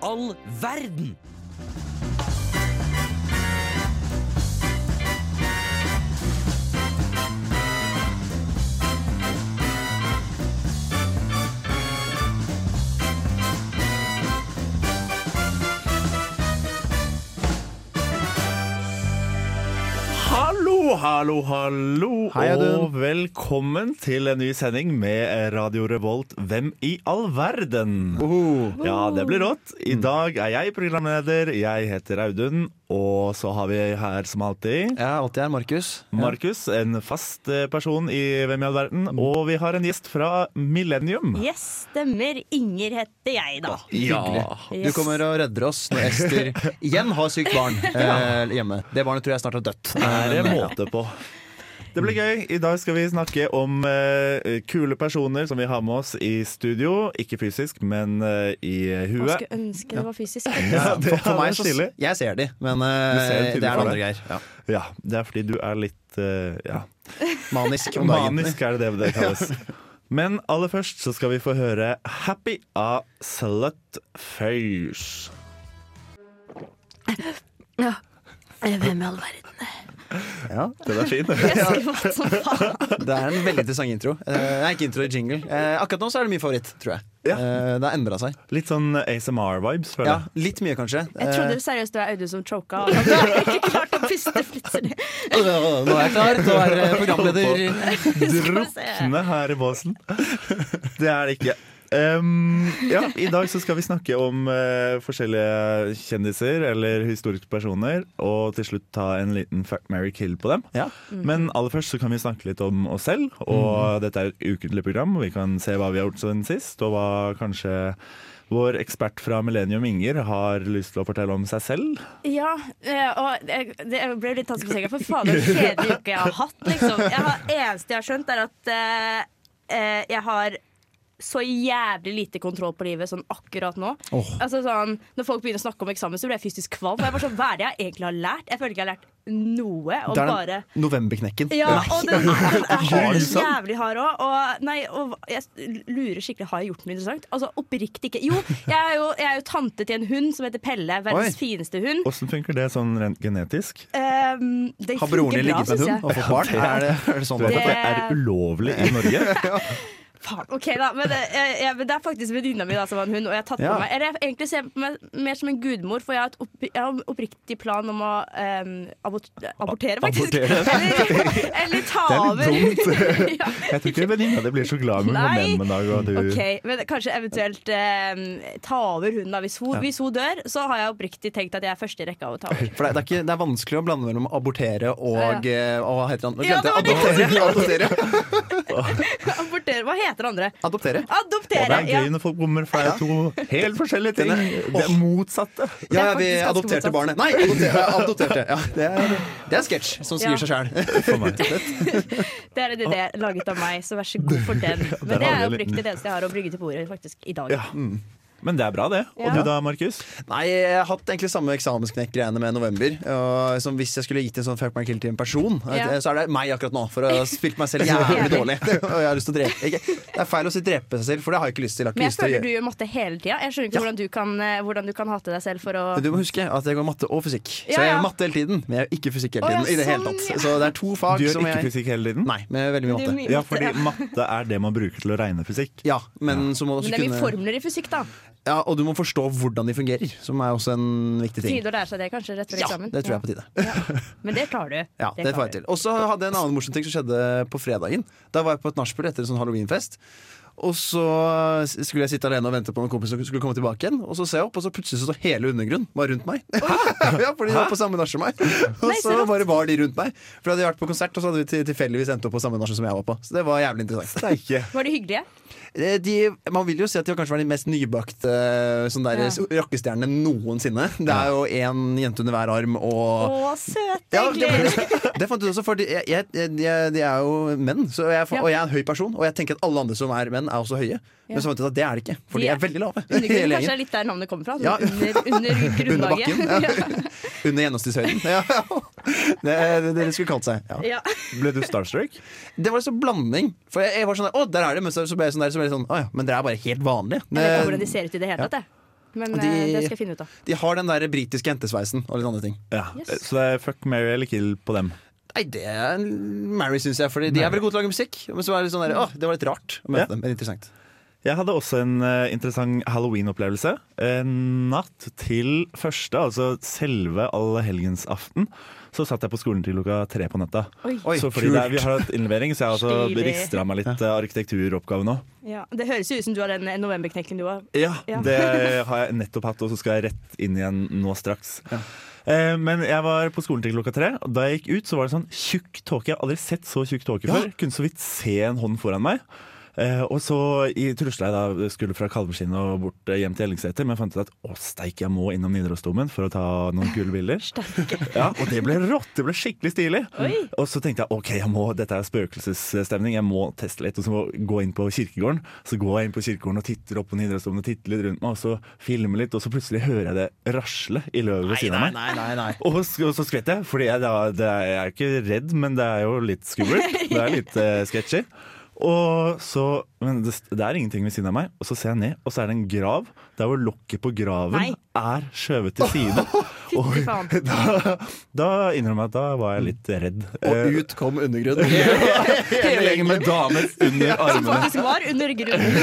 all verden? Hallo, hallo, hallo, Hei, Audun. og velkommen til en ny sending med Radio Revolt Hvem i all verden? Ja, det blir rått. I dag er jeg programleder, jeg heter Audun, og så har vi her som alltid Jeg er alltid her, Markus. Markus, en fast eh, person i Hvem i all verden, og vi har en gjest fra Millennium. Yes, stemmer. Inger heter jeg, da. Ja. Du kommer og redder oss når Ester igjen har sykt barn eh, hjemme. Det barnet tror jeg snart har Eh, dødt. er det måte på. Det blir gøy. I dag skal vi snakke om eh, kule personer som vi har med oss i studio. Ikke fysisk, men eh, i Jeg huet. skulle ønske det var fysisk. Ja, det For, for er meg så stilig. Jeg ser de, men Du eh, ser de tydelig det er for deg. andre greier. Ja. Ja, det er fordi du er litt eh, ja, Manisk om dagen. manisk, er det det det kalles. Men aller først så skal vi få høre 'Happy av Slutface'. Eh, Hvem i all verden? Ja. Den er fin. Jeg skvatt som faen. Det er en veldig interessant intro. Eh, nei, ikke intro, jingle. Eh, akkurat nå så er det min favoritt, tror jeg. Ja. Eh, det har endra seg. Litt sånn ASMR-vibes, føler Ja, jeg. litt mye, kanskje. Jeg trodde seriøst det var Audun som choka. og Jeg har ikke klart å puste plutselig. Eh, nå er jeg klar til å være programleder. Drukne her i båsen. Det er det ikke. Um, ja, I dag så skal vi snakke om eh, forskjellige kjendiser eller historiske personer, og til slutt ta en liten Fuck, marry, kill på dem. Ja. Men aller først så kan vi snakke litt om oss selv. Mhm. Og dette er et ukentlig program. Vi kan se hva vi har gjort siden sist, og hva kanskje vår ekspert fra Millennium Inger har lyst til å fortelle om seg selv. Ja, eh, og jeg- det- jeg ble litt tatt som senga. For faen, det er en kjedelig uke jeg har hatt, liksom. Jeg har, eneste jeg har skjønt, er at eh, eh, jeg har så jævlig lite kontroll på livet sånn akkurat nå. Altså sånn, Når folk begynner å snakke om eksamen, så blir jeg fysisk kvalm. For jeg er bare sånn, Hva er det jeg egentlig har lært? Jeg føler ikke jeg har lært noe. Og Det er bare den novemberknekken. ja, og den, den er Hard, så sant? jævlig hard òg. Og, nei, og jeg lurer skikkelig, har jeg gjort noe interessant? Altså, Oppriktig ikke. Jo, jeg er jo, jeg er jo tante til en hund som heter Pelle. Verdens Oi. fineste hund. Åssen funker det sånn rent genetisk? Um, det Har broren din funker bra, ligget med synes en hund jeg. og fått barn? Er det, er det sånn Du vet det at det er ulovlig i Norge? Faen, ok da, men det, jeg, jeg, men det er faktisk venninna mi da, som har en hund, og jeg har tatt Ja. på meg Eller jeg egentlig ser på meg mer som en gudmor, for jeg har et opp, jeg har en oppriktig plan om å em, abort, abortere, faktisk. Eller, eller ta over. Det er litt dumt. ja. Jeg tror ikke venninna di blir så glad med Nei. menn en dag. Og du, Ok, men kanskje eventuelt eh, ta over hunden da. Hvis hun, hvis hun dør, så har jeg oppriktig tenkt at jeg er første i rekka av å ta over. For det, er- det, er ikke, det er vanskelig å blande mellom abortere og, eh, og Hva heter han? Nå Ja, glemte det var jeg. Adoptere. adoptere. Abortere, hva heter den andre? adoptere. Og det Adoptere! er Ja. gøy når folk kommer fra to helt forskjellige ting. Det er motsatte. Ja, ja, faktisk vi ganske adopterte motsatt. barnet. Nei, adoptere, adopterte. Ja, det er, det er sketsj som sier Ja. seg sjæl. For meg. Det er en idé Ah. laget av meg, så vær så god for den. Men det er aldri oppriktig det eneste jeg har å brygge til bordet faktisk i dag. Ja. Men det er bra, det. Og Ja. du da, Markus? Mm. Nei, jeg har hatt egentlig samme eksamensknekk-greiene med november. Og som hvis jeg skulle gitt en sånn fuck my kill til en person, Ja. eh, så er det meg akkurat nå. For å ha spilt meg selv jævlig dårlig. Og jeg har lyst til å drepe ikke, Det er feil å si drepe seg selv, for det har jeg ikke lyst til. Jeg har ikke Men jeg lyst til å føler gjøre- du gjør matte hele tida. Jeg skjønner ikke hvordan, du kan, eh, hvordan du kan hate deg selv for å Men Du må huske at jeg går matte og fysikk. Så Ja, jeg ja. gjør matte hele tiden, men jeg gjør ikke fysikk hele Å, ja, tiden. i det hele sånn, tatt ja. Så det er to fag Du gjør som ikke jeg fysikk hele tiden? Nei, men jeg gjør veldig mye Det er matte. mye Ja, matte, fordi matte er det man bruker til å regne fysikk. Ja, men så må du også Men det er mye kunne formler i fysikk, da. ja, Og du må forstå hvordan de fungerer, som er også en viktig På ting. tide å lære seg det, kanskje, rett før Ja, eksamen. det tror jeg er på tide. Ja. Men det klarer du. Ja, det får jeg til. Og så hadde jeg en annen morsom ting som skjedde på fredagen. Da var jeg på et nachspiel etter en sånn halloweenfest. Og så skulle jeg sitte alene og vente på noen kompiser som skulle komme tilbake igjen. Og så ser jeg opp, og så plutselig så står hele undergrunnen bare rundt meg. ja, for de var på samme nach som meg. Og Nei, så så rått. bare var de rundt meg. For da hadde jeg vært på konsert, og så hadde vi til- tilfeldigvis endt opp på samme nach som jeg var på. Så det var jævlig interessant. Steike. Var de hyggelige? Eh, De, man vil jo si at de har kanskje vært de mest nybakte eh, sånn der, rockestjernene noensinne. Det er jo én jente under hver arm og Å, søte ja, det, engler! det fant jeg ut også, for de, jeg, jeg, jeg, de er jo menn, så jeg, Ja. og jeg er en høy person. Og jeg tenker at alle andre som er menn, er også høye. Men så fant jeg ut at det er det ikke, for de De er veldig lave. Undergrunnen Hele kanskje gjengen. er litt der navnet kommer fra. Ja. sånn Under, under Under grunnlaget. bakken. Ja. Under gjennomsnittshøyden. Ja. Det er det dere skulle kalt seg. Ja. Ja. Ble du starstruck? Det var liksom blanding. For jeg, jeg var sånn der, å, der er det, men så, så ble jeg sånn der, så ble jeg sånn, å ja, men dere er bare helt vanlige. Jeg vet ikke Det- hvordan de ser ut i det hele tatt. jeg. Men De- eh, det skal jeg finne ut av. De har den der britiske jentesveisen og litt andre ting. Ja. Yes. Så det er fuck, marry eller kill på dem. Nei, det er Mary, syns jeg. Fordi de er veldig gode til å lage musikk. Men så er det litt sånn der, åh, det var litt rart å møte Ja. dem. Men interessant. Jeg hadde også en eh, interessant Halloween-opplevelse. Eh, natt til første, altså selve allehelgensaften, så satt jeg på skolen til klokka tre på natta. Oi. Oi, så fordi kult. det er, vi har hatt innlevering, så jeg har også Stilig. rister av meg litt eh, arkitekturoppgave nå. Ja. Det høres jo ut som du har den eh, novemberknekken du har. Ja, Ja. det har jeg nettopp hatt, og så skal jeg rett inn igjen nå straks. Eh, Men jeg var på skolen til klokka tre, og da jeg gikk ut, så var det sånn tjukk tåke. Jeg har aldri sett så tjukk tåke før. Kunne så vidt se en hånd foran meg. Eh, og så i- trusla jeg da skulle fra Kalverskinnet og bort eh, hjem til Ellingseter, men jeg fant ut at å steik, jeg må innom Nidarosdomen for å ta noen kule bilder. Ja, og det ble rått! Det ble skikkelig stilig. Oi. Og så tenkte jeg ok, jeg må, dette er spøkelsesstemning, jeg må teste litt. Og så må jeg gå inn på kirkegården. Så går jeg inn på kirkegården og titter opp på Nidarosdomen og titter litt rundt meg, og så filmer litt, og så plutselig hører jeg det rasle i løvet ved siden av meg. nei, nei, nei. Og så, så skvetter jeg, Fordi jeg, da, det er, jeg er ikke redd, men det er jo litt skummelt. Det er litt uh, sketsjy. Og så, men det, det er ingenting ved siden av meg, og så ser jeg ned, og så er det en grav der hvor lokket på graven Nei. er skjøvet til side. Fy faen. Da, da innrømmer jeg at da var jeg litt redd. Eh, Og ut kom undergrunnen. Hele gjengen med damer under Som armene. faktisk var under grunnen.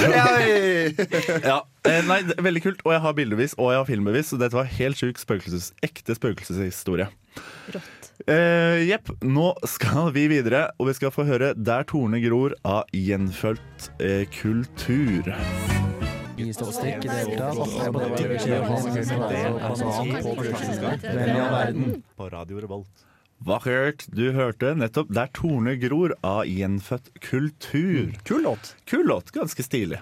Ja. Eh, Nei, det er veldig kult. Og jeg har bildebevis og jeg har filmbevis, så dette var helt sjuk spøkelses, ekte spøkelseshistorie. Rått. Eh, Jepp, nå skal vi videre, og vi skal få høre 'Der torne gror' av gjenfølt eh, kultur. På Radio Revolt. Vakkert. Du hørte nettopp 'Der torne gror' av gjenfødt kultur. Kul låt. Kul låt. Ganske stilig.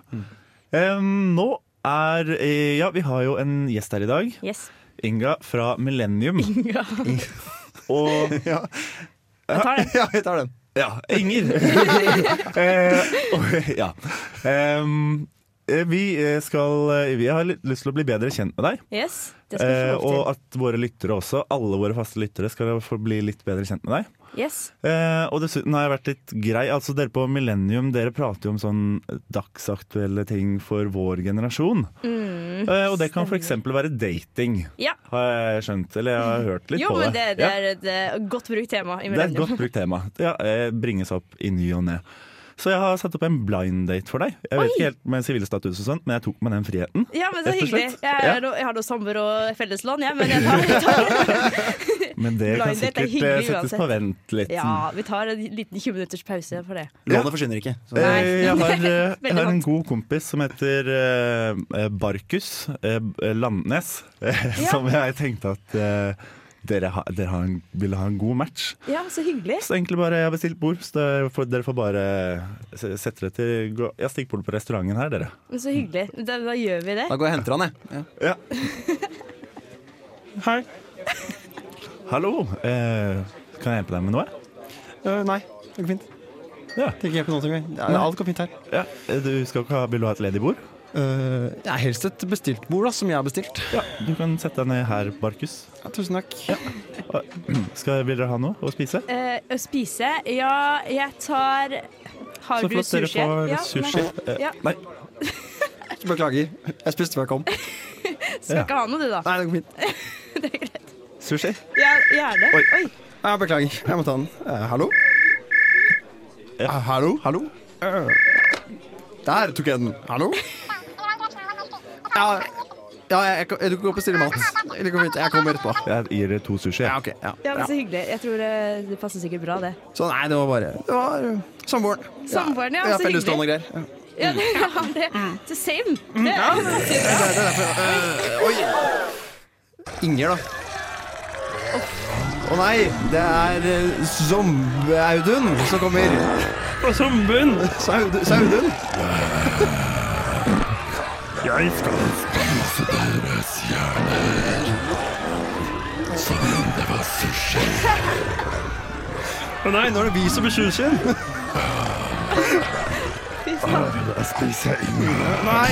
Eh, nå er eh, Ja, vi har jo en gjest her i dag. Yes. Inga fra Millennium. Ja. Og Jeg tar den. Ja, vi tar den. Ja, Inger. eh, og- ja. Em, eh, vi eh, skal eh, Vi har litt lyst til å bli bedre kjent med deg. Yes. Det skal Eh, du få og lov at våre lyttere også, alle våre faste lyttere, skal få bli litt bedre kjent med deg. til. Yes. Eh, og dessuten har jeg vært litt grei. Altså Dere på Millennium dere prater jo om sånn dagsaktuelle ting for vår generasjon. eh, og det kan f.eks. være dating, Mm, Ja. har jeg skjønt. Eller jeg har hørt litt Jo, på men det, det. det Ja. er et eh, godt brukt tema. Det i er et millennium. godt brukt tema. Ja, eh, bringes opp i ny og ne. Så jeg har satt opp en blind date for deg. Jeg vet Oi! ikke helt med sivilstatus og sånt, men jeg tok meg den friheten. Ja, men så Rett og hyggelig. slett. Jeg, Ja. er, no- jeg har noe samboer og felleslån, jeg, men jeg tar, jeg tar Men det kan Blind date er sikkert hyggelig eh, settes på uansett. vent litt. Ja, vi tar en liten 20 minutters pause for det. Lånet forsvinner ikke. Så. Nei. Eh, Jeg har, eh, jeg har en vant. god kompis som heter eh, eh, Barkus eh, B- Landnes, eh, Ja. som jeg tenkte at eh, dere, ha, dere har en, ville ha en god match. Ja, så hyggelig. Så egentlig bare jeg har bestilt bord, så dere får, dere får bare se- sette dere til gå- Ja, stikk bord på restauranten her, dere. Men Så hyggelig. Da, da gjør vi det. Da går jeg og henter han, jeg. Ja. Ja. Hei. Hallo. Eh, kan jeg hjelpe deg med noe? Eh, nei, det går fint. Ja. Det ikke noen ting. alt går fint her. ja. Eh, Du skal ikke ha, vil du ha et ledig bord? det er Eh, helst et bestilt bord, da, som jeg har bestilt. Ja. Du kan sette deg ned her, Barkus. Ja, tusen takk. Og- Skal, vil dere ha noe å spise? Eh, å spise Ja, jeg tar Har Så du flott dere sushi? får Ja, sushi. Eh, nei. Ja, Nei. Beklager. Jeg spiste før jeg kom. Nei, skal ikke ha noe, du, da. det går fint. Sushi? Ja, gjerne. Oi. Oi. Ja, beklager. Jeg må ta den. Eh, hallo? Eh, hallo? Hallo? Eh, der tok jeg den. Hallo? Ja, ja jeg, jeg, du kan gå og bestille mat. Det går fint. Jeg kommer etterpå. Jeg gir dere to sushi. Ja, jeg. ok. Ja. Ja, men Så hyggelig. Jeg tror eh, det passer sikkert bra, det. Så nei, det var bare Det var eh, samboeren. Samboeren, ja, så Felleslån og greier. Ja. Ja, det har det. Mm. Så same. Det er passer bra. Det er derfor eh, Oi! Inger, da. Å nei, det er eh, Zombie-Audun som kommer. Og som bunn Saud- Saudun? Jeg skal spise deres hjerne Som om det var sushi Å nei, nå er det vi som er sushien Nei! Ja,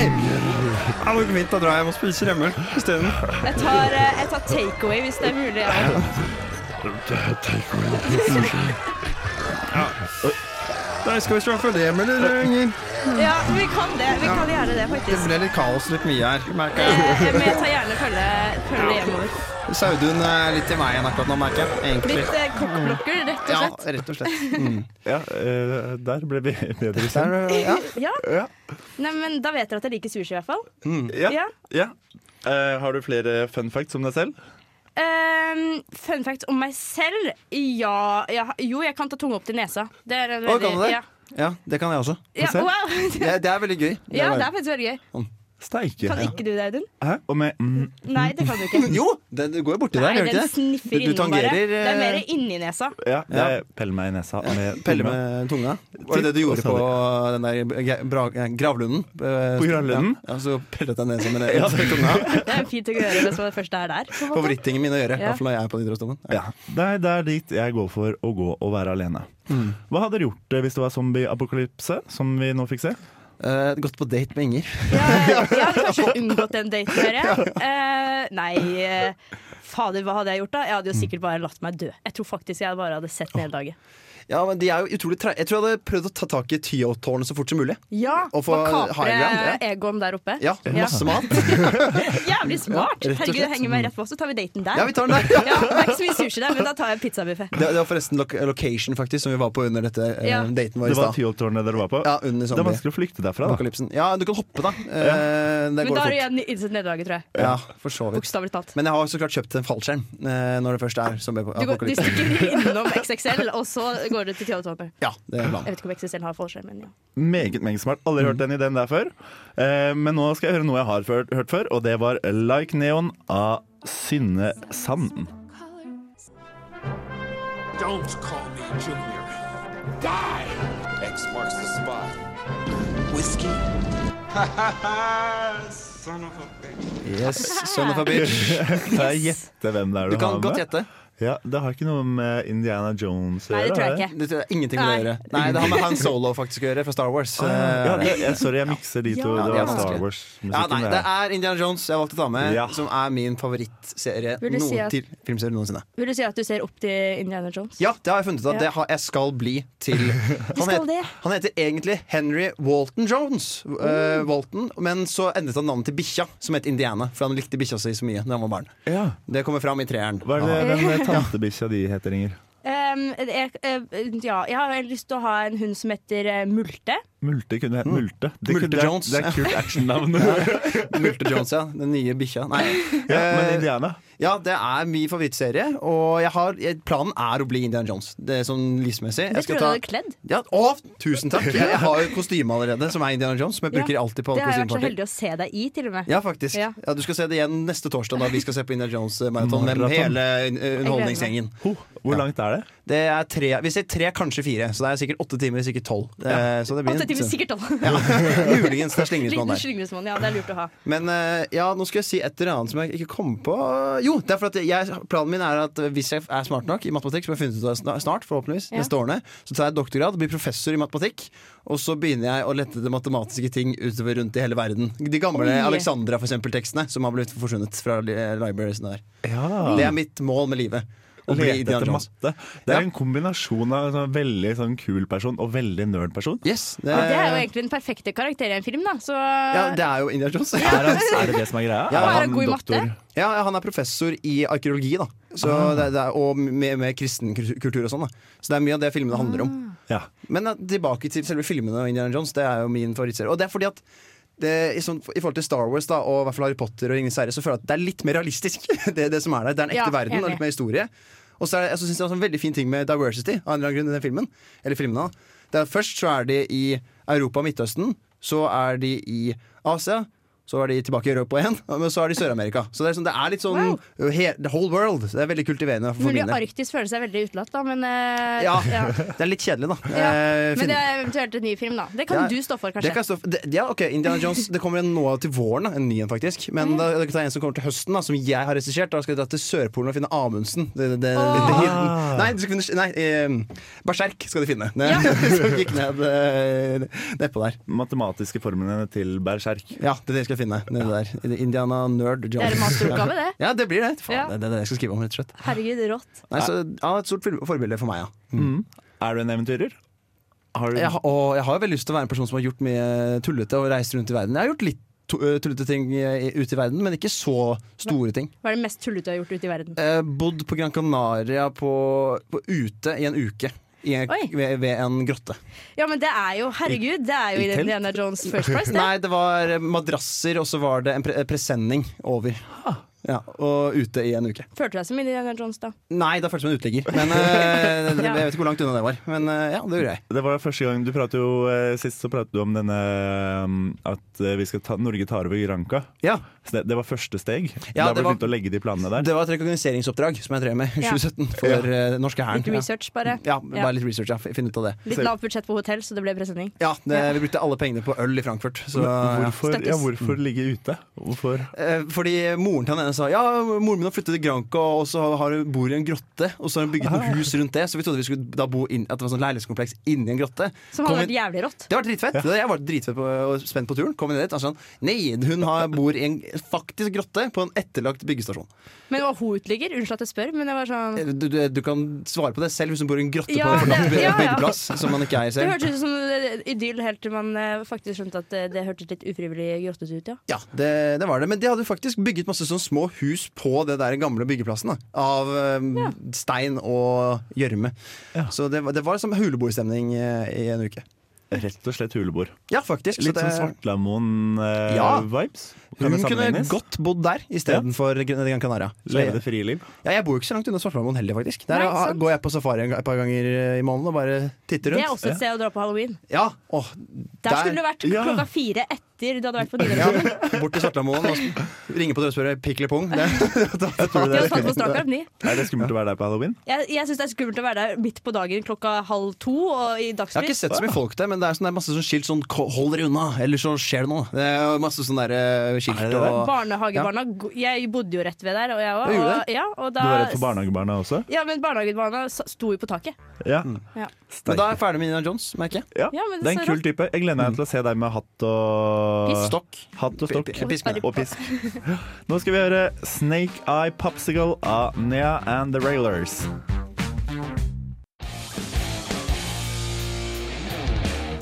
det går fint, da drar jeg hjem og spiser hjemme I stedet Jeg tar, eh, jeg tar takeaway hvis det er mulig. Ja. Ja Nei, skal vi straffe dem, eller, Inger? Ja, vi kan det. Vi kan gjerne det, Det faktisk. ble litt kaos litt mye her, merker jeg. Eh, Men jeg tar gjerne følge, følge hjemover. Saudun er litt i veien akkurat nå, merker jeg. Egentlig. Litt eh, kokkblokker, rett og Ja, slett. rett og slett. Ja, eh, der ble vi bedre kjent. Ja. Ja. Nei, men da vet dere at jeg liker sushi, i hvert fall. Ja, Ja. ja. Eh, har du flere fun facts om deg selv? Ehm, fun fact om meg selv ja, ja, Jo, jeg kan ta tunga opp til nesa. Det er en Å, kan du det? Ja. Ja, det kan jeg også. Ja, selv? wow. Det, det er veldig gøy. Det er ja, det bare- er faktisk veldig gøy. Steike. Kan ikke du det, Audun? Hæ? Og med mm, Nei, det kan du ikke. Jo, det, du går jo borti der, Nei, gjør du den ikke det? sniffer Du- du innom bare. tangerer, Det er eh, mer inni nesa. Ja, det er pell meg i nesa. Med Pelle med tunga. Var det det du gjorde på den der ge- bra, eh, gravlunden? Eh, På Gravlunden? Ja, ja, så pellet jeg nesa med det- med tunga. Det er en fin ting å gjøre hvis man først er der. på en måte. Favorittingen min å gjøre. I Ja. hvert fall når jeg er på idrettsdommen. Ja. Ja. Nei, det er dit jeg går for å gå og være alene. Mm. Hva hadde dere gjort eh, hvis det var zombieapokalypse, som vi nå fikk se? Eh, gått på date med Inger. Ja, ja, Jeg hadde kanskje unngått den daten, hører jeg. Eh, nei, eh, fader, hva hadde jeg gjort da? Jeg hadde jo sikkert bare latt meg dø. Jeg tror faktisk jeg bare hadde sett den hele dagen. Ja, men de er jo utrolig tre... Jeg tror jeg hadde prøvd å ta tak i Tyholt-tårnet så fort som mulig. Ja, Og få og kapre high ground, Egon der oppe. Ja, masse mat. Jævlig smart! Ja, rett og Herregud, slett. jeg henger meg rett på, så tar vi daten der. Ja, vi tar den der. Ja, det er ikke så mye sushi der, men da tar jeg pizzabuffé. Det, det var forresten lo location faktisk som vi var på under dette eh, Ja. daten vår i Det var stad. Tyholttårnet dere var på. Ja, under det er zombie. vanskelig å flykte derfra. Da. Apokalypsen. Ja, du kan hoppe, da. Eh, det Men går da har du fort. igjen innsett nederlaget, tror jeg. Ja, for så vidt. Bokstavelig talt. Men jeg har så klart kjøpt en fallskjerm eh, når det først er som Du, går, du apokalypse. stikker innom XXL, og så går du til Theodor Ja, det er planen. Jeg vet ikke om XXL har forskjell, men ja. Meget meget smart. Aldri Mm. hørt den ideen der før. Eh, men nå skal jeg høre noe jeg har før, hørt før, og det var Like Neon av Synne Sand. Don't call me Junior. Die! X marks the spot. Whiskey? Son of a bitch. Yes, son of a bitch. Kan jeg gjette hvem det er du, Du kan har godt med? gjette. Ja, det har ikke noe med Indiana Jones å Nei, det gjøre, tror har jeg ikke. Det har ingenting med det å gjøre. Nei, det har med Han Solo faktisk å gjøre, fra Star Wars. Ah, Ja, Eh, det, jeg, sorry, jeg mikser de to. Ja, det det var Star er vanskelig. ja, nei, Wars-musikken. det er Indiana Jones jeg valgte å ta med, Ja. som er min favorittserie Vil du si noen at- til filmserie noensinne. Vil du si at du ser opp til Indiana Jones? Ja, det har jeg funnet ut av. Ja. Det har, jeg skal bli til han, skal det. han heter egentlig Henry Walton Jones, eh, Mm. Walton, men så endret han navnet til bikkja, som het Indiana, for han likte bikkja si så mye da han var barn. ja. Det kommer fram i treeren. Hva er Ah. det den tantebikkja de heter, Inger? Ehm, jeg, eh, ja, jeg har lyst til å ha en hund som heter eh, Multe. Multe kunne hete Multe. Det Multe kunne, det er- Jones. Det er kult actionnavn. Ah, Multer Jones, ja. Den nye bikkja. Nei. ja, men Eh, Indiana. ja, det er min favorittserie, og jeg har, jeg, planen er å bli Indiana Jones. Det er sånn livsmessig. Jeg Det tror skal jeg du ta hadde kledd. ja, Å, tusen takk! Jeg, jeg har jo kostyme allerede, som er Indiana Jones, som jeg bruker Ja. alltid på Det har jeg vært så kostymeparty. heldig å se deg i, til og med. Ja, faktisk. Ja. Ja. Du skal se det igjen neste torsdag, da vi skal se på Indiana Jones-maraton med Maraton. hele eh, underholdningsgjengen. Ho, hvor langt er det? Det er tre, vi ser tre, kanskje fire, så det er sikkert åtte timer, sikkert tolv. Eh, Så det blir Åtte timer, en- sikkert. da. Muligens det er slingringsmann Liten der. slingringsmonn, ja. Det er lurt å ha. Men eh, ja, nå skal jeg si et eller annet som jeg ikke kom på. Jo, det er for at jeg, planen min er at hvis jeg er smart nok i matematikk, som jeg har funnet ut av sna- snart, forhåpentligvis, Ja. neste årene, så tar jeg doktorgrad, blir professor i matematikk, og så begynner jeg å lette etter matematiske ting utover rundt i hele verden. De gamle Oi. Alexandra, for eksempel, tekstene som har blitt forsvunnet fra li- librariesene der. Ja. Det er mitt mål med livet. Å bli Lete Indiana etter Jones. matte. Det er Ja. en kombinasjon av en sånn veldig sånn kul person og veldig nerd person. Yes, det, Ja, det er jo egentlig den perfekte karakter i en film, da. Så ja, det er jo Indiana Jones. Er, han, er det det som er greia? Ja, er han han god i matte? doktor? Ja, han er professor i arkeologi, da. Så det, det er, og med, med kristen kultur- kultur og sånn. da Så det er mye av det filmene handler om. Ja. Men eh, tilbake til selve filmene og Indiana Jones. Det er jo min favorittserie. Og det er fordi at det, i, sånn, I forhold til Star Wars da og i hvert fall Harry Potter og Ingen Serre, så føler jeg at det er litt mer realistisk. Det, det som er der. Det er en ekte Ja, verden og enig. litt mer historie. Og så er det, jeg synes det er også en veldig fin ting med diversity av en eller annen grunn i den filmen. Eller filmene. da. Det er, først så er de i Europa og Midtøsten. Så er de i Asia. Så er de tilbake i Europa igjen. Men så er de i Sør-Amerika. Så det er, sånn, det er litt sånn Wow. he, the whole world. Det er veldig kultiverende. For Mulig min del. Arktis føler seg veldig utelatt, da, men eh, Ja, ja. det er litt kjedelig, da. Ja, Eh, Men fin- det er eventuelt en ny film, da. Det kan Ja, du stå for, Det kanskje. kan stå for, det, ja, ok, Indiana Jones Det kommer en nå til våren, da, en ny en faktisk. Men da, det er en som kommer til høsten, da, som jeg har regissert. Da skal jeg dra til Sørpolen og finne Amundsen. Det, det, det, det, Åh. nei, du skal finne nei, eh, Berserk skal de finne. Det, Ja. som gikk ned eh, nedpå der. Matematiske formlene til Berserk. Ja, det er det jeg skal finne. Nede der. Indiana Nerd Det er en Jones. masteroppgave, det. Ja, det blir det. Faen, Ja. det, det er det jeg skal skrive om, rett og slett. Herregud, rått. Nei, så, ja, et stort forbilde for meg, ja. Er du en eventyrer? Har du Jeg, har- og jeg har jo veldig lyst til å være en person som har gjort mye tullete og reist rundt i verden. Jeg har gjort litt tu- eh, tullete ting eh, ute i verden, men ikke så store ting. Hva er det mest tullete du har gjort ute i verden? Eh, bodd på Gran Canaria på, på ute i en uke. I en, Oi. ved, ved en grotte. Ja, men det er jo Herregud, det er jo I- i Indiana Jones First Price. Det. Nei, det var eh, madrasser, og så var det en pre eh, presenning over. Ja, og ute i en uke. Følte du deg som Indiana Jones da? Nei, da føltes det som en uteligger. Men eh, det- Ja. jeg vet ikke hvor langt unna det var. Men eh, ja, det gjorde jeg. Det var første gang du pratet jo eh, Sist så pratet du om denne eh, At eh, vi skal ta, Norge tar over Granka Ja, Så det, det var første steg Ja, Da det ble var- begynt å legge de planene der Det var et rekognoseringsoppdrag som jeg drev med i Ja. 2017 for eh, den norske hæren. Litt research, bare. Ja, bare litt research, ja. Finne ut av det. Litt lavt budsjett på hotell, så det ble presenning. Ja, det, Vi brukte alle pengene på øl i Frankfurt. Så, ja. Hvorfor, Stakkars. ja, Mm. hvorfor ligge ute? Hvorfor? Eh, Fordi moren til han ene sa Ja, moren min har flyttet til Granca, og så har- har hun bor i en grotte. Og så har hun bygget noen hus rundt det, så vi trodde vi skulle da bo inn, at det var sånn leilighetskompleks inni en grotte. Som Kom hadde vært inn- jævlig rått. det var dritfett. Det- Jeg var dritfett på, og spent på turen. Kom inn dit, og sånn Nei, hun har, bor i en faktisk grotte på en etterlagt byggestasjon. Men var hun uteligger? Unnskyld at jeg spør, men det var sånn Eh, Du, du, du kan svare på det selv hvis hun bor i en grotte Ja, på en forlatt det- ja, ja. byggeplass som man ikke eier Det selv. hørtes ut som en idyll helt til man eh, faktisk skjønte at eh, det hørtes litt ufrivillig grottet ut, ja. Ja, det, det var det. Men de hadde jo faktisk bygget masse sånn små hus på det der gamle byggeplassen. Da, av eh, Ja. stein og gjørme. Så det, var- det var som huleboerstemning eh, i en uke. Rett og slett hulebord Ja, faktisk. Litt så sånn det, Ja. Svartlamoen-vibes Kan hun det kunne sammenlignes? godt bodd der istedenfor Gran Canaria. Så Leve jeg- det frie liv ja, jeg bor jo ikke så langt unna Svartlamoen heller, faktisk. Der Nei, ah, sant. går jeg på safari en- et par ganger eh, i måneden og bare titter Det er rundt. også et sted å dra på halloween. Ja, åh, Der, skulle du vært Ja. klokka fire etter du hadde vært på Dyrehaven. ja, Bort til Svartlamoen og s- ringe på døra og spørre pikk eller pung. Det- da- Tror du det De hadde er tatt på skummelt? strak arm, de. Er det skummelt å være der på Halloween? Jeg, jeg syns det er skummelt å være der midt på dagen klokka halv to og i Jeg har ikke dagslys. sett så mye folk der, men det er, sånn, det er masse sånn skilt sånn «Ko- 'hold dere unna', eller så skjer det noe. Det er masse sånn der eh, skilt Er det det? og Barnehagebarna go- Jeg bodde jo rett ved der, og jeg Du òg. gjorde Og, ja, og Du da var redd for barnehagebarna også? Ja, men barnehagebarna s- sto jo på taket. Ja, Ja. Men Mm. da er jeg ferdig med Indiana Jones, merker jeg. ja. Ja, men det det er en ser kul rart. type Jeg gleder meg til å se deg med hatt og Stokk. Hatt og stokk Pi- pi- pisk, ja. og pisk. Nå skal vi høre Snake Eye Popsicle av Nea and The Railers.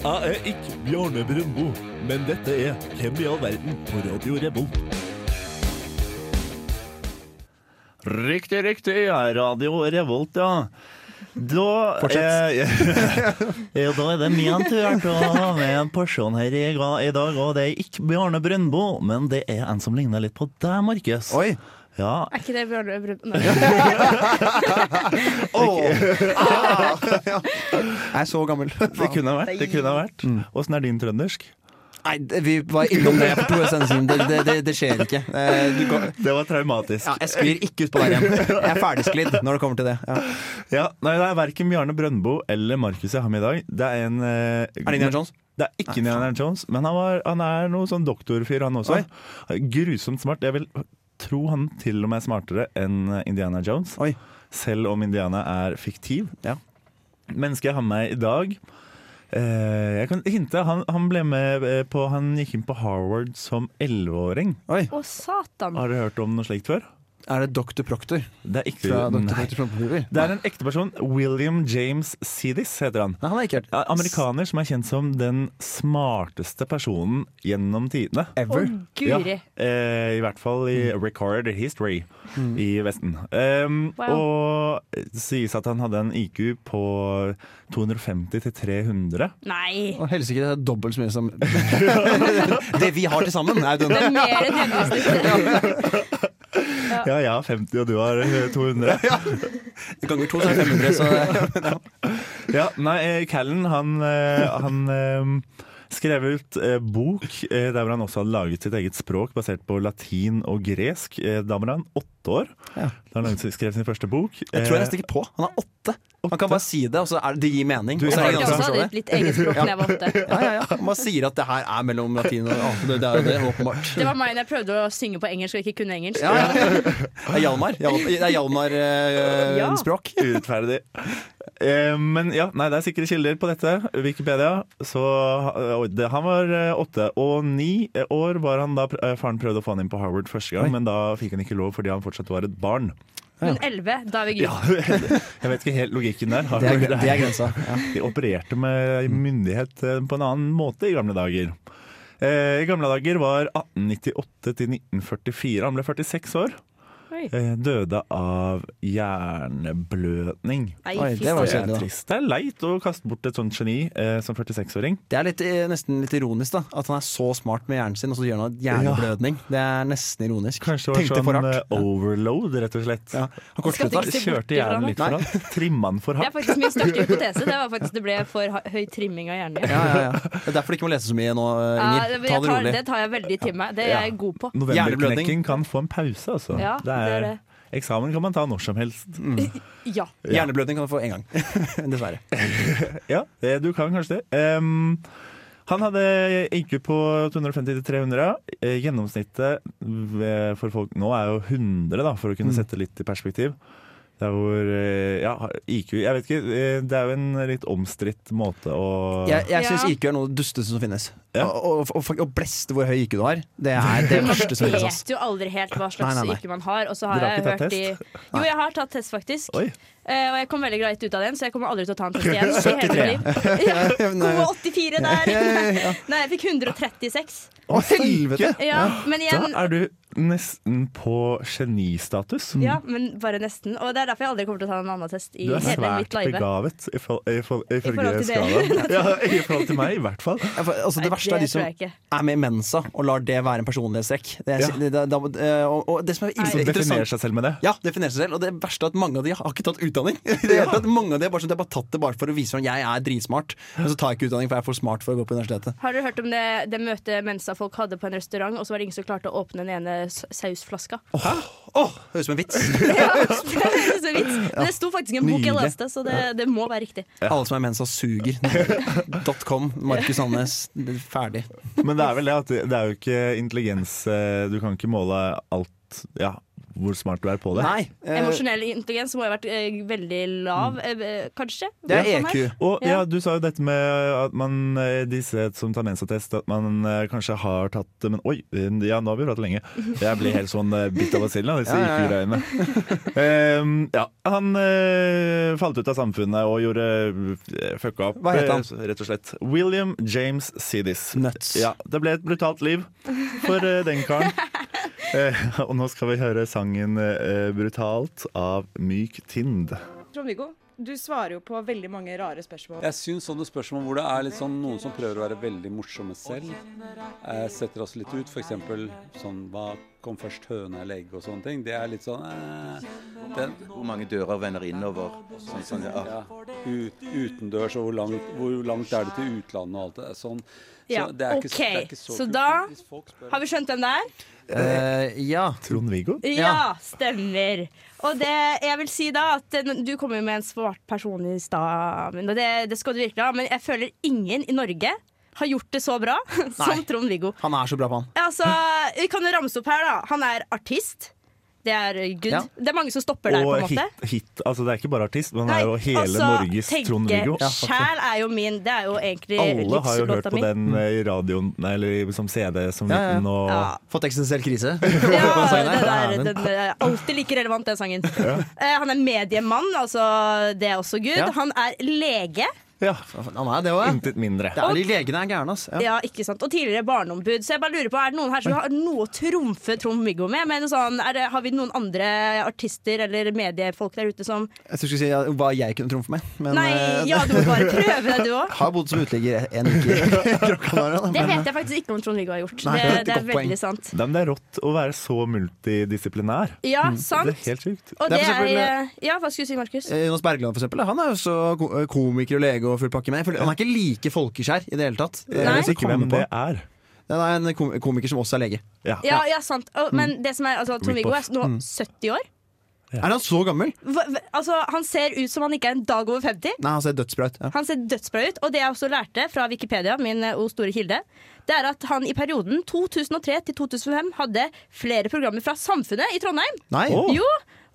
Jeg er ikke Bjarne Brumbo, men dette er Hvem i all verden på Radio Revolt. Riktig, riktig. Radio Revolt, ja. Da eh, Fortsett. ja, da er det min tur til å ha med en person her i, ga- i dag. Og det er ikke Bjarne Brøndbo, men det er en som ligner litt på deg, Markus. Oi! Ja, Er ikke det Bjørn Brun- Nei. Jeg er så gammel. det kunne ha vært. det kunne ha vært. Åssen er din trøndersk? Nei, det- vi var innom det for to sekunder siden. Det, det, det, det skjer ikke. Eh, Du går Det var traumatisk. ja, jeg sklir ikke ut på der igjen. Jeg er ferdigsklidd når det kommer til det. Ja. Ja, nei, det er verken Bjarne Brøndbo eller Markus jeg har med i dag. Det er en Er Er det Indiana Jones? Det er ikke Indiana Jones, men han, var, han er noe sånn doktorfyr, han også. Grusomt smart. Jeg vil tro han til og med er smartere enn eh, Indiana Jones, Oi. selv om Indiana er fiktiv. Ja. Mennesket jeg har med i dag eh, Jeg kan hinte. Han, han ble med eh, på Han gikk inn på Harvard som elleveåring. Oi. Å, satan. Har dere hørt om noe slikt før? Er det Dr. Proctor Det er ikke fra Dr. Nei. Proctor Prompehuber? Det er en ekte person. William James Sidis heter han. Nei, han har jeg ikke hørt. Ja, Amerikaner som er kjent som den smarteste personen gjennom tidene. Å, Ever. guri. Mm. Ja, eh, I hvert fall i record history i Vesten. Um, Wow. Og det sies at han hadde en IQ på 250 til 300. Nei. Og helsike, det er dobbelt så mye som Det vi har til sammen, er jo Det den er mer enn gjennomsnittet. Ja, jeg har 50, og du har eh, 200. ganger to, så er det 500. Så Ja, nei, eh, Callen, han, eh, han eh, skrev ut eh, bok eh, der hvor han også hadde laget sitt eget språk basert på latin og gresk. Eh, da var han åtte år Ja. da han laget- skrev sin første bok. Jeg tror jeg Eh, nesten ikke på. Han er åtte. Han kan bare si det, og så er det, det gir mening. Du- og så er Jeg det ingen som også hadde forstår et det. litt eget språk da jeg var åtte. Ja, ja, ja. Han bare sier at det her er mellom latin og ja, det, det er jo det, åpenbart. Det var meg når jeg prøvde å synge på engelsk og ikke kunne engelsk. Ja, ja. Det er Hjalmar. eh, Hjal- Det er Ja. Hjalmar-språk. Urettferdig. Eh, men ja, nei, det er sikre kilder på dette. Wikipedia. Så eh, oi, det, han var eh, åtte og ni eh, år var han da pr- eh, faren prøvde å få han inn på Harvard første gang, men da fikk han ikke lov fordi han fortsatt var et barn. Men elleve, da er vi Ja, good. jeg vet ikke helt logikken der. Har Det er, noe det er grensa. Ja. De opererte med myndighet eh, på en annen måte i gamle dager. Eh, I gamle dager var 1898 til 1944. Han ble 46 år. Oi. Eh, døde av hjerneblødning. Nei, Oi, fy det Det er var søren. Kjedelig, da. trist. Det er leit å kaste bort et sånt geni eh, som 46-åring. Det er litt, eh, nesten litt ironisk da at han er så smart med hjernen sin, og så gjør han en hjerneblødning. Det er nesten ironisk. Kanskje det Tenkte var for sånn eh, hardt. overload, rett og slett. Ja. Han kortslutta. Skal tenke seg bort Kjørte ifra hjernen det. litt for hardt. Trimma den for Det er hardt. faktisk min største hypotese. Det var faktisk det ble for ha- høy trimming av hjernen. Ja, ja, ja. Det er derfor du ikke må lese så mye nå, eh, Ja, Inger. det, Ta jeg det tar, rolig. det tar jeg veldig til meg. Det er jeg god på. Novemberknekken kan få en pause, altså. Ja, det det er er, det. Eksamen kan man ta når som helst. Ja. Hjerneblødning kan du få én gang. Dessverre. Ja, det, du kan kanskje det. Ehm, han hadde IQ på 250-300. Eh, Gjennomsnittet ved- for folk nå er jo 100, da, for å Mm. kunne sette litt i perspektiv. Det er hvor eh, Ja, har- IQ Jeg vet ikke. eh, Det er jo en litt omstridt måte å Jeg, jeg Ja. syns IQ er noe av det dusteste som finnes. Ja. Og, og, og, og bleste hvor høy IQ du har, det er det verste som Man finnes. ass. vet jo aldri helt hva slags Nei, nei, nei. yrke man har. Og Dere så har har jeg ikke tatt hørt i Jo, jeg har tatt test, faktisk. Oi. Eh, og jeg kom veldig greit ut av den, så jeg kommer aldri til å ta en test igjen. i hele mitt liv. Ja, nei. Gode 84 der! ja. Nei, jeg fikk 136. Å, helvete! Ja, men igjen Da er du nesten på genistatus. Ja, men bare nesten. Og det er derfor jeg aldri kommer til å ta en annen test i Du er hele svært mitt live. begavet, ifol- ifol- forhold ifølge til dere. skalaen. Ja, I forhold til meg, i hvert fall. Ja, for, altså, det Nei, verste er de det som tror jeg ikke. er med i Mensa og lar det være en personlighetstrekk. Det er, Ja. det, det, det, og, og det som er Som definerer interessant seg selv med det. ja, definerer seg selv, og det verste er at mange av de har ikke tatt utdanning. I Det hele tatt, mange av de har bare, sånn, de har bare tatt det bare for å vise at jeg er dritsmart, men så tar jeg ikke utdanning for jeg er for smart for å gå på universitetet. Har dere hørt om det, det møtet Mensa-folk hadde på en restaurant, og så var det ingen som klarte å åpne den ene s- sausflaska? Åh, åh, høres ut som en vits. Ja, det er så vidt. Men det sto faktisk i en bok jeg Nydelig. leste, så det, det må være riktig. Alle som er i Mensa, suger. .com, Markus Sandnes, det er ferdig. Men det er vel det at det det er jo ikke intelligens eh, Du kan ikke måle alt Ja, hvor smart du er på det. Nei. eh, Mm. Emosjonell intelligens må ha vært eh, veldig lav, eh, kanskje? det er E Sånn EQ. her. Og ja, Ja. du sa jo dette med at man eh, disse som tar mensatest, at man eh, kanskje har tatt det, Men oi, eh, ja, nå har vi pratet lenge. Jeg blir helt sånn eh, bitt av basillen av disse Ja, ja, IQ-greiene. Ehm, ja, han eh, falt ut av samfunnet og gjorde eh, fucka opp. Hva het han? eh, Rett og slett. William James Sidis. Nuts. Ja, det ble et brutalt liv for eh, den karen. Eh, og nå skal vi høre sangen eh, 'Brutalt' av Myk Tind. Trond-Viggo, du svarer jo på veldig mange rare spørsmål. Jeg syns sånne spørsmål hvor det er litt sånn noen som prøver å være veldig morsomme selv, eh, setter oss litt ut. F.eks. sånn Hva kom først, høna eller egg og sånne ting. Det er litt sånn eh, den, Hvor mange dører vender innover? Sånn, sånn, ja. ja, ut, Utendørs og hvor langt, hvor langt er det til utlandet og alt det der. Sånn. Så Ja, det er ikke, ok. så- det er ikke så Så kult. da- Hvis folk spør- Har vi skjønt hvem det er? Eh, ja. Trond-Viggo? Ja, stemmer. Og det, jeg vil si da at eh, du kom jo med en svart person i stad, Amund, og det, det skal du virkelig ha, men jeg føler ingen i Norge har gjort det så bra som Trond-Viggo. Han er så bra på han. Altså, vi kan jo ramse opp her, da. Han er artist. Det er good. Ja. Det er mange som stopper der, på Og en måte. hit, hit. Altså, det er ikke bare artist, men han er jo hele altså, Norges Trond-Viggo. Tenke sjæl er jo min. Det er jo egentlig Alle har jo hørt livslåta på mi. den eh, i radioen, nei, eller som CD som Ja, ja. liten og Ja. Fått eksistensiell krise. Ja, På den sangen her. det der, Dæven. den er alltid like relevant, den sangen. Eh, han er mediemann, altså det er også good. Ja. Han er lege, Han er det òg. intet mindre. Det er de legene er gærne, ass. Ja. Mm. ja, ikke sant? og tidligere barneombud. Så jeg bare lurer på, er det noen her som har noe å trumfe Trond-Viggo med? Men sånn, er det, har vi noen andre artister eller mediefolk der ute som Jeg skulle si ja, hva jeg kunne trumfe med, men Nei, eh, ja, du må bare prøve deg, du òg. har bodd som uteligger en uke i Gran Det Canaria. da, men- vet jeg faktisk ikke om Trond-Viggo har gjort. Nei, det, det er et det er godt poeng. veldig sant. Nei, men det er rått å være så multidisiplinær. Mm, Ja, Det er sant. helt sjukt. Og Det det er for er eksempel- eh, Ja, hva skulle du si, Markus? Eh, Jonas Bergland for eksempel, han er jo så ko- eh, komiker og lege og full pakke. Men jeg føler, han er ikke like folkeskjær i det hele tatt. Det er Nei. Jeg det som vet ikke kommer hvem på. det er. Det er en kom- komiker som også er lege. Ja. Ja, ja sant. Og, Mm. men det som er, altså, Trond-Viggo er nå 70 år. Er han så gammel? Hva, hva- altså, han ser ut som han ikke er en dag over 50. Nei, han ser dødsbra ut. Ja. Han ser dødsbra ut, og det jeg også lærte fra Wikipedia, min eh, O store kilde, det er at han i perioden 2003 til 2005 hadde flere programmer fra Samfunnet i Trondheim. Nei, Åh. Jo,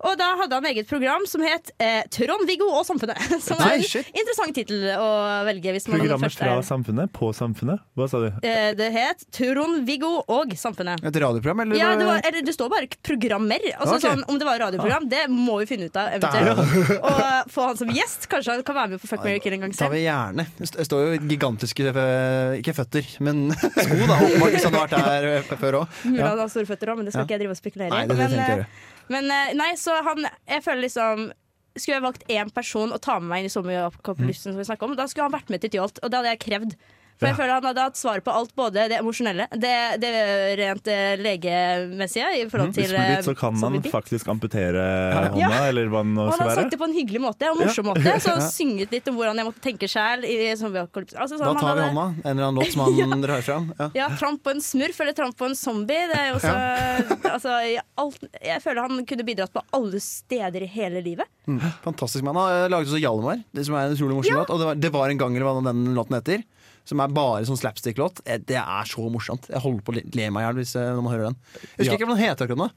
Og da hadde han eget program som het eh, 'Trond-Viggo og samfunnet'. Som er Nei, en shit. interessant tittel å velge. Hvis man Programmer først er- fra samfunnet? På samfunnet? Hva sa du? eh, Det het 'Trond-Viggo og samfunnet'. Et radioprogram, eller? Ja, det, var, eller det står bare programmer. eh, Altså Ok. Ah. sånn, Om det var radioprogram, det må vi finne ut av eventuelt. Og eh, få han som gjest. Kanskje han kan være med på Fuck Mary Kill en gang tar selv. vi gjerne. Det står jo gigantiske eh, ikke føtter, men sko, da. Åpenbart hvis han har vært der eh, før òg. Mulig Ja. han har store føtter òg, men det skal Ja. ikke jeg drive og spekulere i. Nei, det trenger men, jeg ikke eh, men, eh, nei, så han Jeg føler liksom skulle jeg valgt én person å ta med meg inn i Mm. sommerjobblysten, som vi snakket om, da skulle han vært med til Tjolt. Og det hadde jeg krevd. For jeg føler han hadde hatt svar på alt, både det emosjonelle, det, det rent eh, legemessige i Mm. forhold Hvis til man eh, dit, så kan man zombie-bit. faktisk amputere hånda, Ja. eller hva det nå Og han skal har være. sagt det på en hyggelig måte og en morsom måte. Så synget litt om hvordan jeg måtte tenke sjæl. Altså, Da sånn, tar han vi hadde- hånda. En eller annen låt som han drar fram. Ja. Ja, tramp på en smurf eller tramp på en zombie. Det er jo så, altså, i alt, jeg føler han kunne bidratt på alle steder i hele livet. Fantastisk mann. Han har laget også Hjalmar, det som er en utrolig morsom låt. Og det var, det var en gang eller hva den låten heter. Som er bare sånn slapstick-låt. Eh, Det er så morsomt. Jeg holder på å le- le meg i hjel hvis, eh, når man hører den. Jeg husker Ja. ikke hva den heter akkurat nå.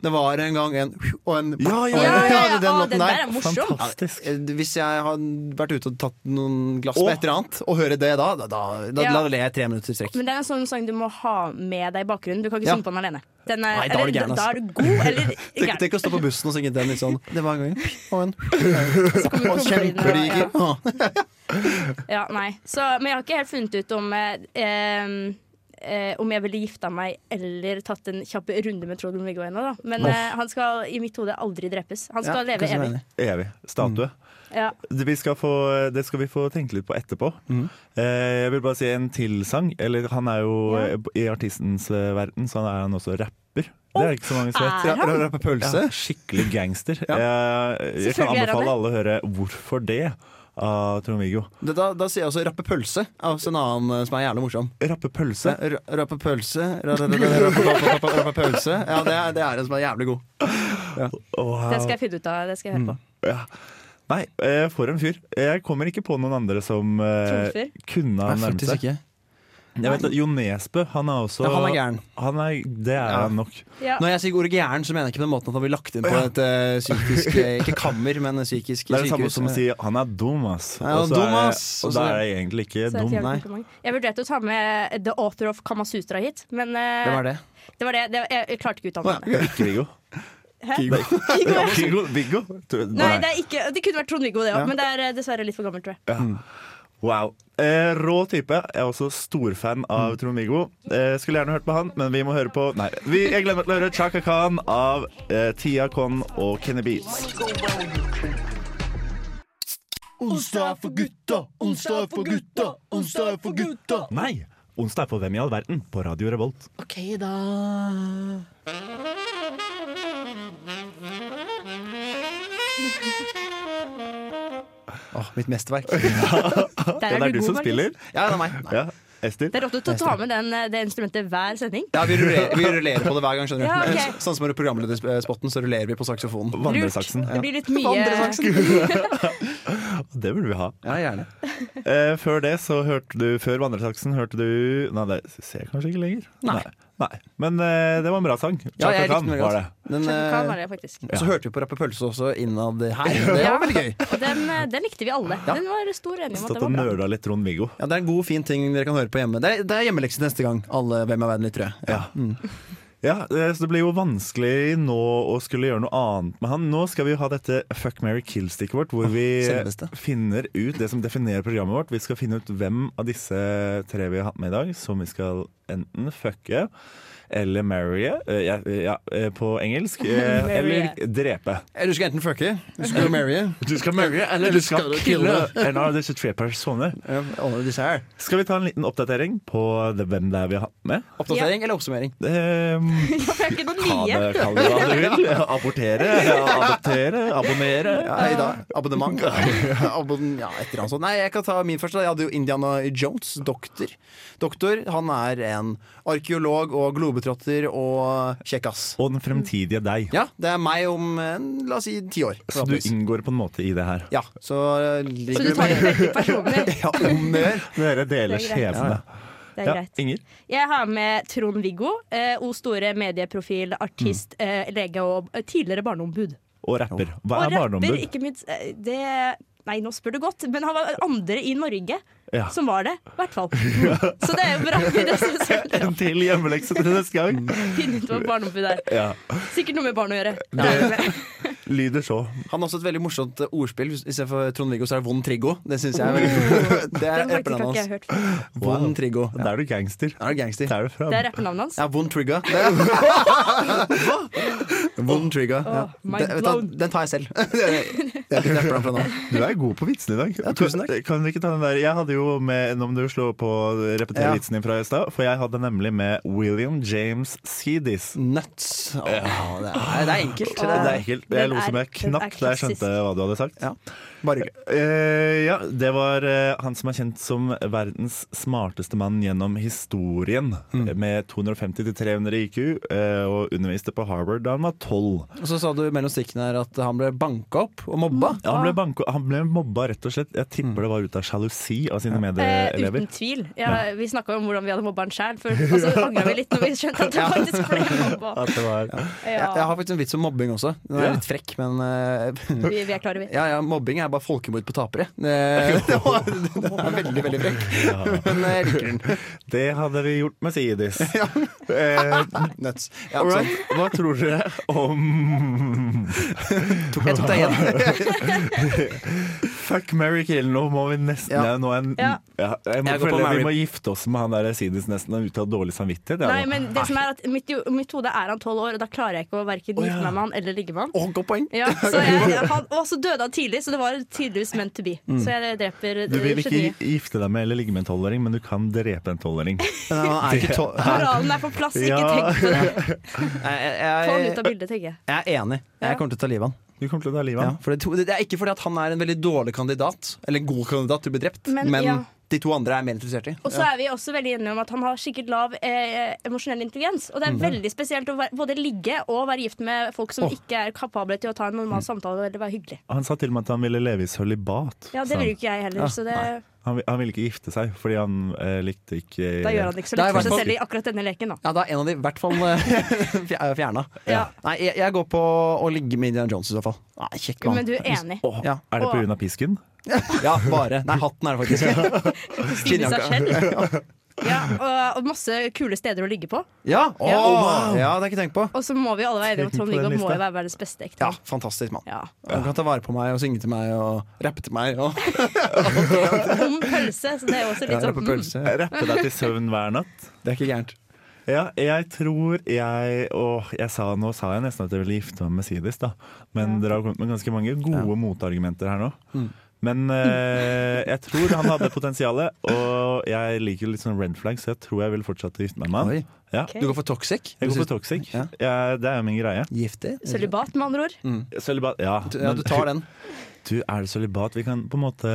Det var en gang en og en Ja, ja, og en- ja, ja, ja. Den Å, låten den der der. er morsom. Fantastisk. Eh, Hvis jeg har vært ute og tatt noen glass Åh. med et eller annet, og hører det da, da, da, da, Ja. da ler jeg tre minutter i strekk. Men det er en sånn sang du må ha med deg i bakgrunnen. Du kan ikke Ja. synge på den alene. Den er, Nei, da er du eller, gæren, altså. ass. da er du god, eller Tenk, gæren. tenk å stå på bussen og synge den litt sånn. Det var en gang og en Så kommer krokodillen og- ja. Kjemperik. Åh. Ja, nei. Så, men jeg har ikke helt funnet ut om eh, em, eh, om jeg ville gifta meg eller tatt en kjapp runde med Trond-Viggo ennå, da. Men eh, han skal i mitt hode aldri drepes. Han skal Ja, leve kanskje evig. det Evig statue. Ja. Det, vi skal få, det skal vi få tenke litt på etterpå. Mm. Eh, jeg vil bare si en til sang. Eller han er jo eh, i artistens eh, verden, så han er han også rapper. Det er det ikke så mange som vet. Er han? Rapper pølse. skikkelig gangster. Eh, jeg kan Selvfølgelig er han det. anbefale alle å høre 'Hvorfor det?' av Trond-Viggo. Det, da, da sier jeg også rappe pølse. Er også en annen eh, som er jævlig morsom. Rappe pølse. Ja, ra- Rappe pølse. ra- ra- ra- ra- Rappe rappe- rappe- rappe pølse. Ja, det er, det er en som er jævlig god. Åh, Det skal jeg finne ut av. Det skal jeg høre på. Ja. Nei, eh, for en fyr. Jeg kommer ikke på noen andre som eh, Trumfer? kunne ha nærmet seg. Jeg vet at Jo Nesbø, han er også Ja, han er gæren. han er- det er Ja. han nok. Ja. Når jeg sier ordet gæren, så mener jeg ikke på den måten at han blir lagt inn på et eh, psykisk eh, Ikke kammer, men et psykisk Det er det samme sykehus. som å si 'han er dum, ass'. Ja, Og så er dum, jeg- ass. Og da er jeg egentlig ikke Så det er dum. et jævlig nei. kompliment. Jeg vurderte å ta med eh, The Author of Kamasutra hit, men eh, Hvem er det? det var det. det jeg, jeg klarte ikke å uttale det. Ikke Viggo. Hæ? Viggo. Viggo. Viggo? Tror- Nei, det, er ikke, det kunne vært Trond-Viggo, det òg, Ja. men det er eh, dessverre litt for gammelt, tror jeg. Wow. Eh, rå type. Jeg er også storfan Mm. av Trond-Viggo. Eh, skulle gjerne hørt på han, men vi må høre på Nei, vi, jeg glemmer til å høre Chaka Khan av eh, Tia Kon og Kenny Beats. Onsdag er for gutta, onsdag er for gutta, onsdag er for gutta. Nei! Onsdag er for Hvem i all verden på Radio Revolt. Åh, mitt mesterverk. Der Ja, det er du som Markus. spiller? Ja, det er meg. Nei. Ja, Ester? Det er rått å ta med den, eh, det instrumentet hver sending. Ja, vi rullerer, vi rullerer på det hver gang, skjønner du. Ja, ok. Sånn som med programlederspotten, så rullerer vi på saksofonen. Vandresaksen. Det blir litt mye Det burde vi ha. Ja, gjerne. Eh, før det så hørte du Før vandresaksen hørte du Nei, det ser jeg kanskje ikke lenger. Nei. Nei. Men eh, det var en bra sang. Ja, jeg Chaka likte Khan den veldig var det. godt. Den, Kan eh, være det, faktisk. Så hørte vi på Rappe pølse også innad her. Det var veldig gøy. Og Den, eh, den likte vi alle. Den var stor enighet om at Stått det og var bra. nøla litt Trond-Viggo. Ja, Det er en god, fin ting dere kan høre på hjemme. Det er, det er hjemmelekse neste gang. Alle Hvem er verden lyttere. Ja. Ja, eh, så det blir jo vanskelig nå å skulle gjøre noe annet med han. Nå skal vi jo ha dette Fuck, marry, kill-stikket vårt, hvor vi eh, selveste. finner ut det som definerer programmet vårt. Vi skal finne ut hvem av disse tre vi har hatt med i dag, som vi skal enten fucke eller marrye, eh, ja, ja, eh, på engelsk, eh, eller drepe. Du skal enten fucke, du skal marry, Du skal marrye, eller du skal kille en av disse tre personer. ja, alle disse her. Skal vi ta en liten oppdatering på det, hvem det er vi har hatt med? Oppdatering eller oppsummering? Eh, Ja, for jeg har ikke noe Kall nye. det, kall det hva du vil. Abortere, adoptere, abonnere. Ja, I dag. Abonnement. Abon ja, et eller annet sånt. Nei, jeg kan ta min første. da. Jeg hadde jo Indiana Jones, doktor. Doktor, han er en arkeolog og globetrotter og kjekkas. Og den fremtidige deg. Ja, det er meg om eh, la oss si ti år. Så du inngår på en måte i det her. Ja, så eh, Så ligger du du tar det med veldig personlig. Ja, om det gjør. Dere deler Det er greit. skjebne. Det er Ja, greit. Inger? Jeg har Mm. med Trond-Viggo. Eh, o store medieprofil, artist, eh, lege og eh, tidligere barneombud. Og rapper. Hva Og er rapper, barneombud? ikke minst eh, det, Nei, nå spør du godt, men han var andre i Norge Ja. som var det. I hvert fall. Så det er jo bra. Det som selv En til hjemmelekse til neste gang. Finne ut hva barneombud er. Ja. Sikkert noe med barn å gjøre. Ja. Lyder så. Han har også et veldig morsomt eh, ordspill. Hvis- Istedenfor Trond-Viggo, så er det Vond Triggo. Det synes jeg er veldig Det er Den faktisk har rappernavnet ikke hans. jeg hørt før. Vond Triggo. Da er du gangster. Er du gangster? Da er du fra Det er rappernavnet hans. Ja, Vond Trigger. Det er- Vond Trigger. Ja. mind Den, vet du hva, blown. den tar jeg selv. Jeg rapper den fra nå. Du er god på vitsene i dag. tusen takk. Kan- Kan vi ikke ta den der? Jeg hadde jo med Om du slår på å repetere Ja. vitsen din fra i stad, for jeg hadde nemlig med William James Seedis. Nuts. Åh, det, er, det er enkelt. Det er ekkelt. Jeg Den lo som er- jeg den er knapt da jeg skjønte klassisk. hva du hadde sagt. Ja. Bare hyggelig. Eh, ja, det var eh, han som er kjent som verdens smarteste mann gjennom historien. Med 250-300 IQ, eh, og underviste på Harvard da han var tolv. Og så sa du mellom stikkene her at han ble banka opp og mobba. Ja, han, ble banko, han ble mobba, rett og slett. Jeg tipper det var ut av sjalusi av sine Eh, medelever. uten tvil. Ja, vi snakka om hvordan vi hadde mobba han sjæl, og så angra vi litt når vi skjønte at det faktisk ble mobba. At det var Jeg, jeg Ja, har faktisk en vits om mobbing også. Den er Ja. litt frekk, men eh, vi, vi er klare, vi. ja, ja, mobbing er bare folkemord på tapere. Eh, Det, var, den er veldig, veldig frekk. Men eh, jeg liker den. Det hadde vi gjort med Sidis. eh, Nuts. Ja, all sånn. right. Hva tror dere om Jeg tok deg igjen. Fuck Mary Kill? Nå må vi nesten Ja. ja. nå er en, ja. Ja. jeg må Jeg går på føle at Vi Mary. må gifte oss med han der Sidis nesten ut av dårlig samvittighet. Nei, men det som er at mitt, jo- mitt hode er han tolv år, og da klarer jeg ikke å verken gifte meg med han eller ligge med han. Åh, godt poeng. Ja, så jeg, han, og så døde han tidlig, så det var tydeligvis meant to be. Så jeg dreper eh, Du vil ikke geniet. gifte deg med eller ligge med en tolvåring, men du kan drepe en tolvåring. Men han er ikke tå- Moralen er på plass, ikke Ja. tenk på det. jeg, Få han ut jeg, av bildet, tenker jeg. jeg er enig. Jeg Ja. kommer til å ta livet av han. Du kommer til å ta livet av Ja, han. for det, det er ikke fordi at han er en veldig dårlig kandidat, eller en god kandidat til å bli drept, men, Men, ja. de to andre er mer interessert i. Og så er vi også veldig enige om at han har sikkert lav eh, emosjonell intelligens. Og det er veldig spesielt å være, både ligge og være gift med folk som ikke er kapable til å ta en normal samtale eller være hyggelig. Han sa til og med at han ville leve i sølibat. Ja, sa Det han. vil jo ikke jeg heller, så det, han, vil- han ville ikke gifte seg fordi han eh, likte ikke da gjør han det ikke så Det er i lett for hvert seg fall- selv i akkurat denne leken, da. Ja, da er en av de i hvert fall eh, fjerna. Ja. Nei, jeg, jeg går på å ligge med Indiana Jones i så fall. Nei, kjekk mann. Men du er enig. Åh, Ja. Er det pga. pisken? Ja, bare. Nei, hatten er det faktisk. Stille seg selv. Ja, og, og masse kule steder å ligge på. Ja, åh, Ja. wow. ja det har jeg ikke tenkt på. Og så må vi alle være enige om at På den Trond-Viggo må lista. jo være verdens beste Ja, ektemann. fantastisk mann. Ja. Han kan ta vare på meg og synge til meg og rappe til meg. Og Om pølse, så det er jo også litt rappe sånn mm. pølse. Rappe deg til søvn hver natt? Det er ikke gærent. Ja, jeg tror jeg Åh, jeg sa, nå sa jeg nesten at jeg ville gifte meg med Sidis, da. Men dere har kommet med ganske mange gode motargumenter her nå. Mm. Men eh, jeg tror han hadde potensialet, og jeg liker litt sånn red flag, så jeg tror jeg vil fortsette å gifte meg med han. Oi. Ja. Du går for toxic? Jeg går for toxic. Ja. Ja, det er jo min greie. Giftig? Sølibat, med andre ord. Sølibat, ja. Ja, du tar den. Du, er det sølibat? Vi kan på en måte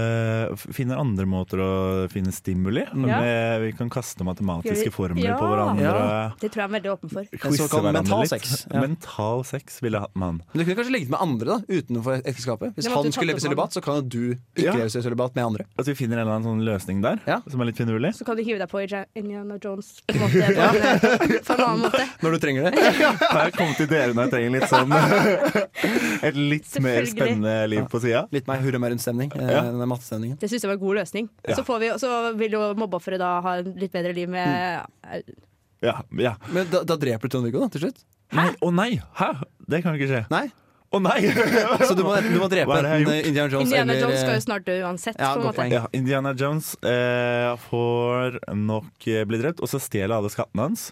finne andre måter å finne stimuli. Ja. Med, vi kan kaste matematiske formler Ja. på hverandre. Ja. Det tror jeg han er veldig åpen for. Quizze såkalt hverandre mental litt. sex, ja. Mental sex ville jeg hatt med han. Men Du kunne kanskje ligget med andre da, utenfor ekteskapet. Hvis Det måtte han du skulle leve i tatt opp sølibat, så kan jo du ikke Ja. leve i sølibat med andre. At vi finner en eller annen sånn løsning der Ja. som er litt finurlig. Så kan du hive deg på i Ja- Indiana Jones på en, måte, på en, på en annen måte. Når du trenger det. Har jeg kommet til dere når jeg trenger litt sånn Et litt mer Selvfølgelig. spennende liv på sida? Litt mer hurra eh, meg rundt-stemning. Ja. Den der mattestemningen. Det syns jeg var en god løsning. Så, får vi, så vil jo mobbeofferet da ha en litt bedre liv Mm. med Ja. ja. Men da, da dreper du Trond-Viggo, da, til slutt? Nei, å nei! Hæ? Det kan ikke skje. Nei? Å nei! Så du må, du må drepe Hva er det jeg har enten Indiana Jones Indiana eller eh, Jones skal jo snart dø uansett. Ja, på en godt måte. poeng. Altså, Ja, Indiana Jones eh, får nok eh, bli drept, og så stjeler alle skattene hans.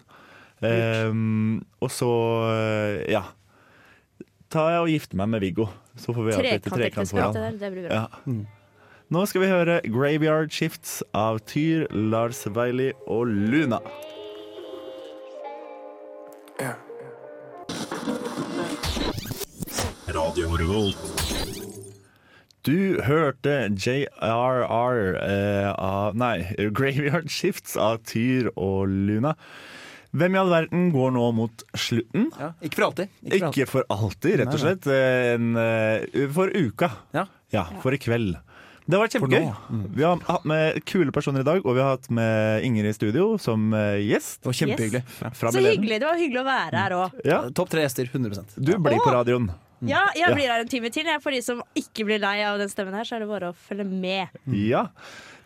Ehm, og så eh, ja. Tar jeg og gifter meg med Viggo. Så får vi ha et lite trekant Trekantekteskap, foran. det der. Det blir bra. Ja. Mm. Nå skal vi høre 'Graveyard Shifts' av Tyr, Lars Veilig og Luna. Du hørte JRR eh, av Nei, 'Graveyard Shifts' av Tyr og Luna. Hvem i all verden går nå mot slutten? Ja. Ikke for alltid. Ikke for alltid. Ikke for alltid, rett og Nei, nei. slett. Eh, En, eh, for uka. Ja. Ja, for i kveld. Det var For kjempegøy. nå, Mm. Vi har hatt med kule personer i dag, og vi har hatt med Ingrid i studio som eh, gjest. Det var kjempehyggelig. Fra Så Millennium. hyggelig. Det var hyggelig å være her òg. Ja. Ja. Topp tre gjester. 100 Du blir på radioen. Ja, jeg blir her en time til. Jeg. For de som ikke blir lei av den stemmen her, så er det bare å følge med. Mm. Ja,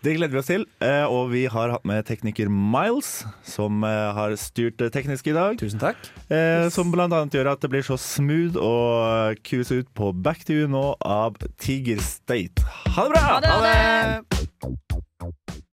det gleder vi oss til. Eh, Og vi har hatt med tekniker Miles, som eh, har styrt det tekniske i dag. Tusen takk. Eh, Som blant annet gjør at det blir så smooth å kuse ut på Back to you nå av Tiger State. Ha det bra! Ha det! Ha det.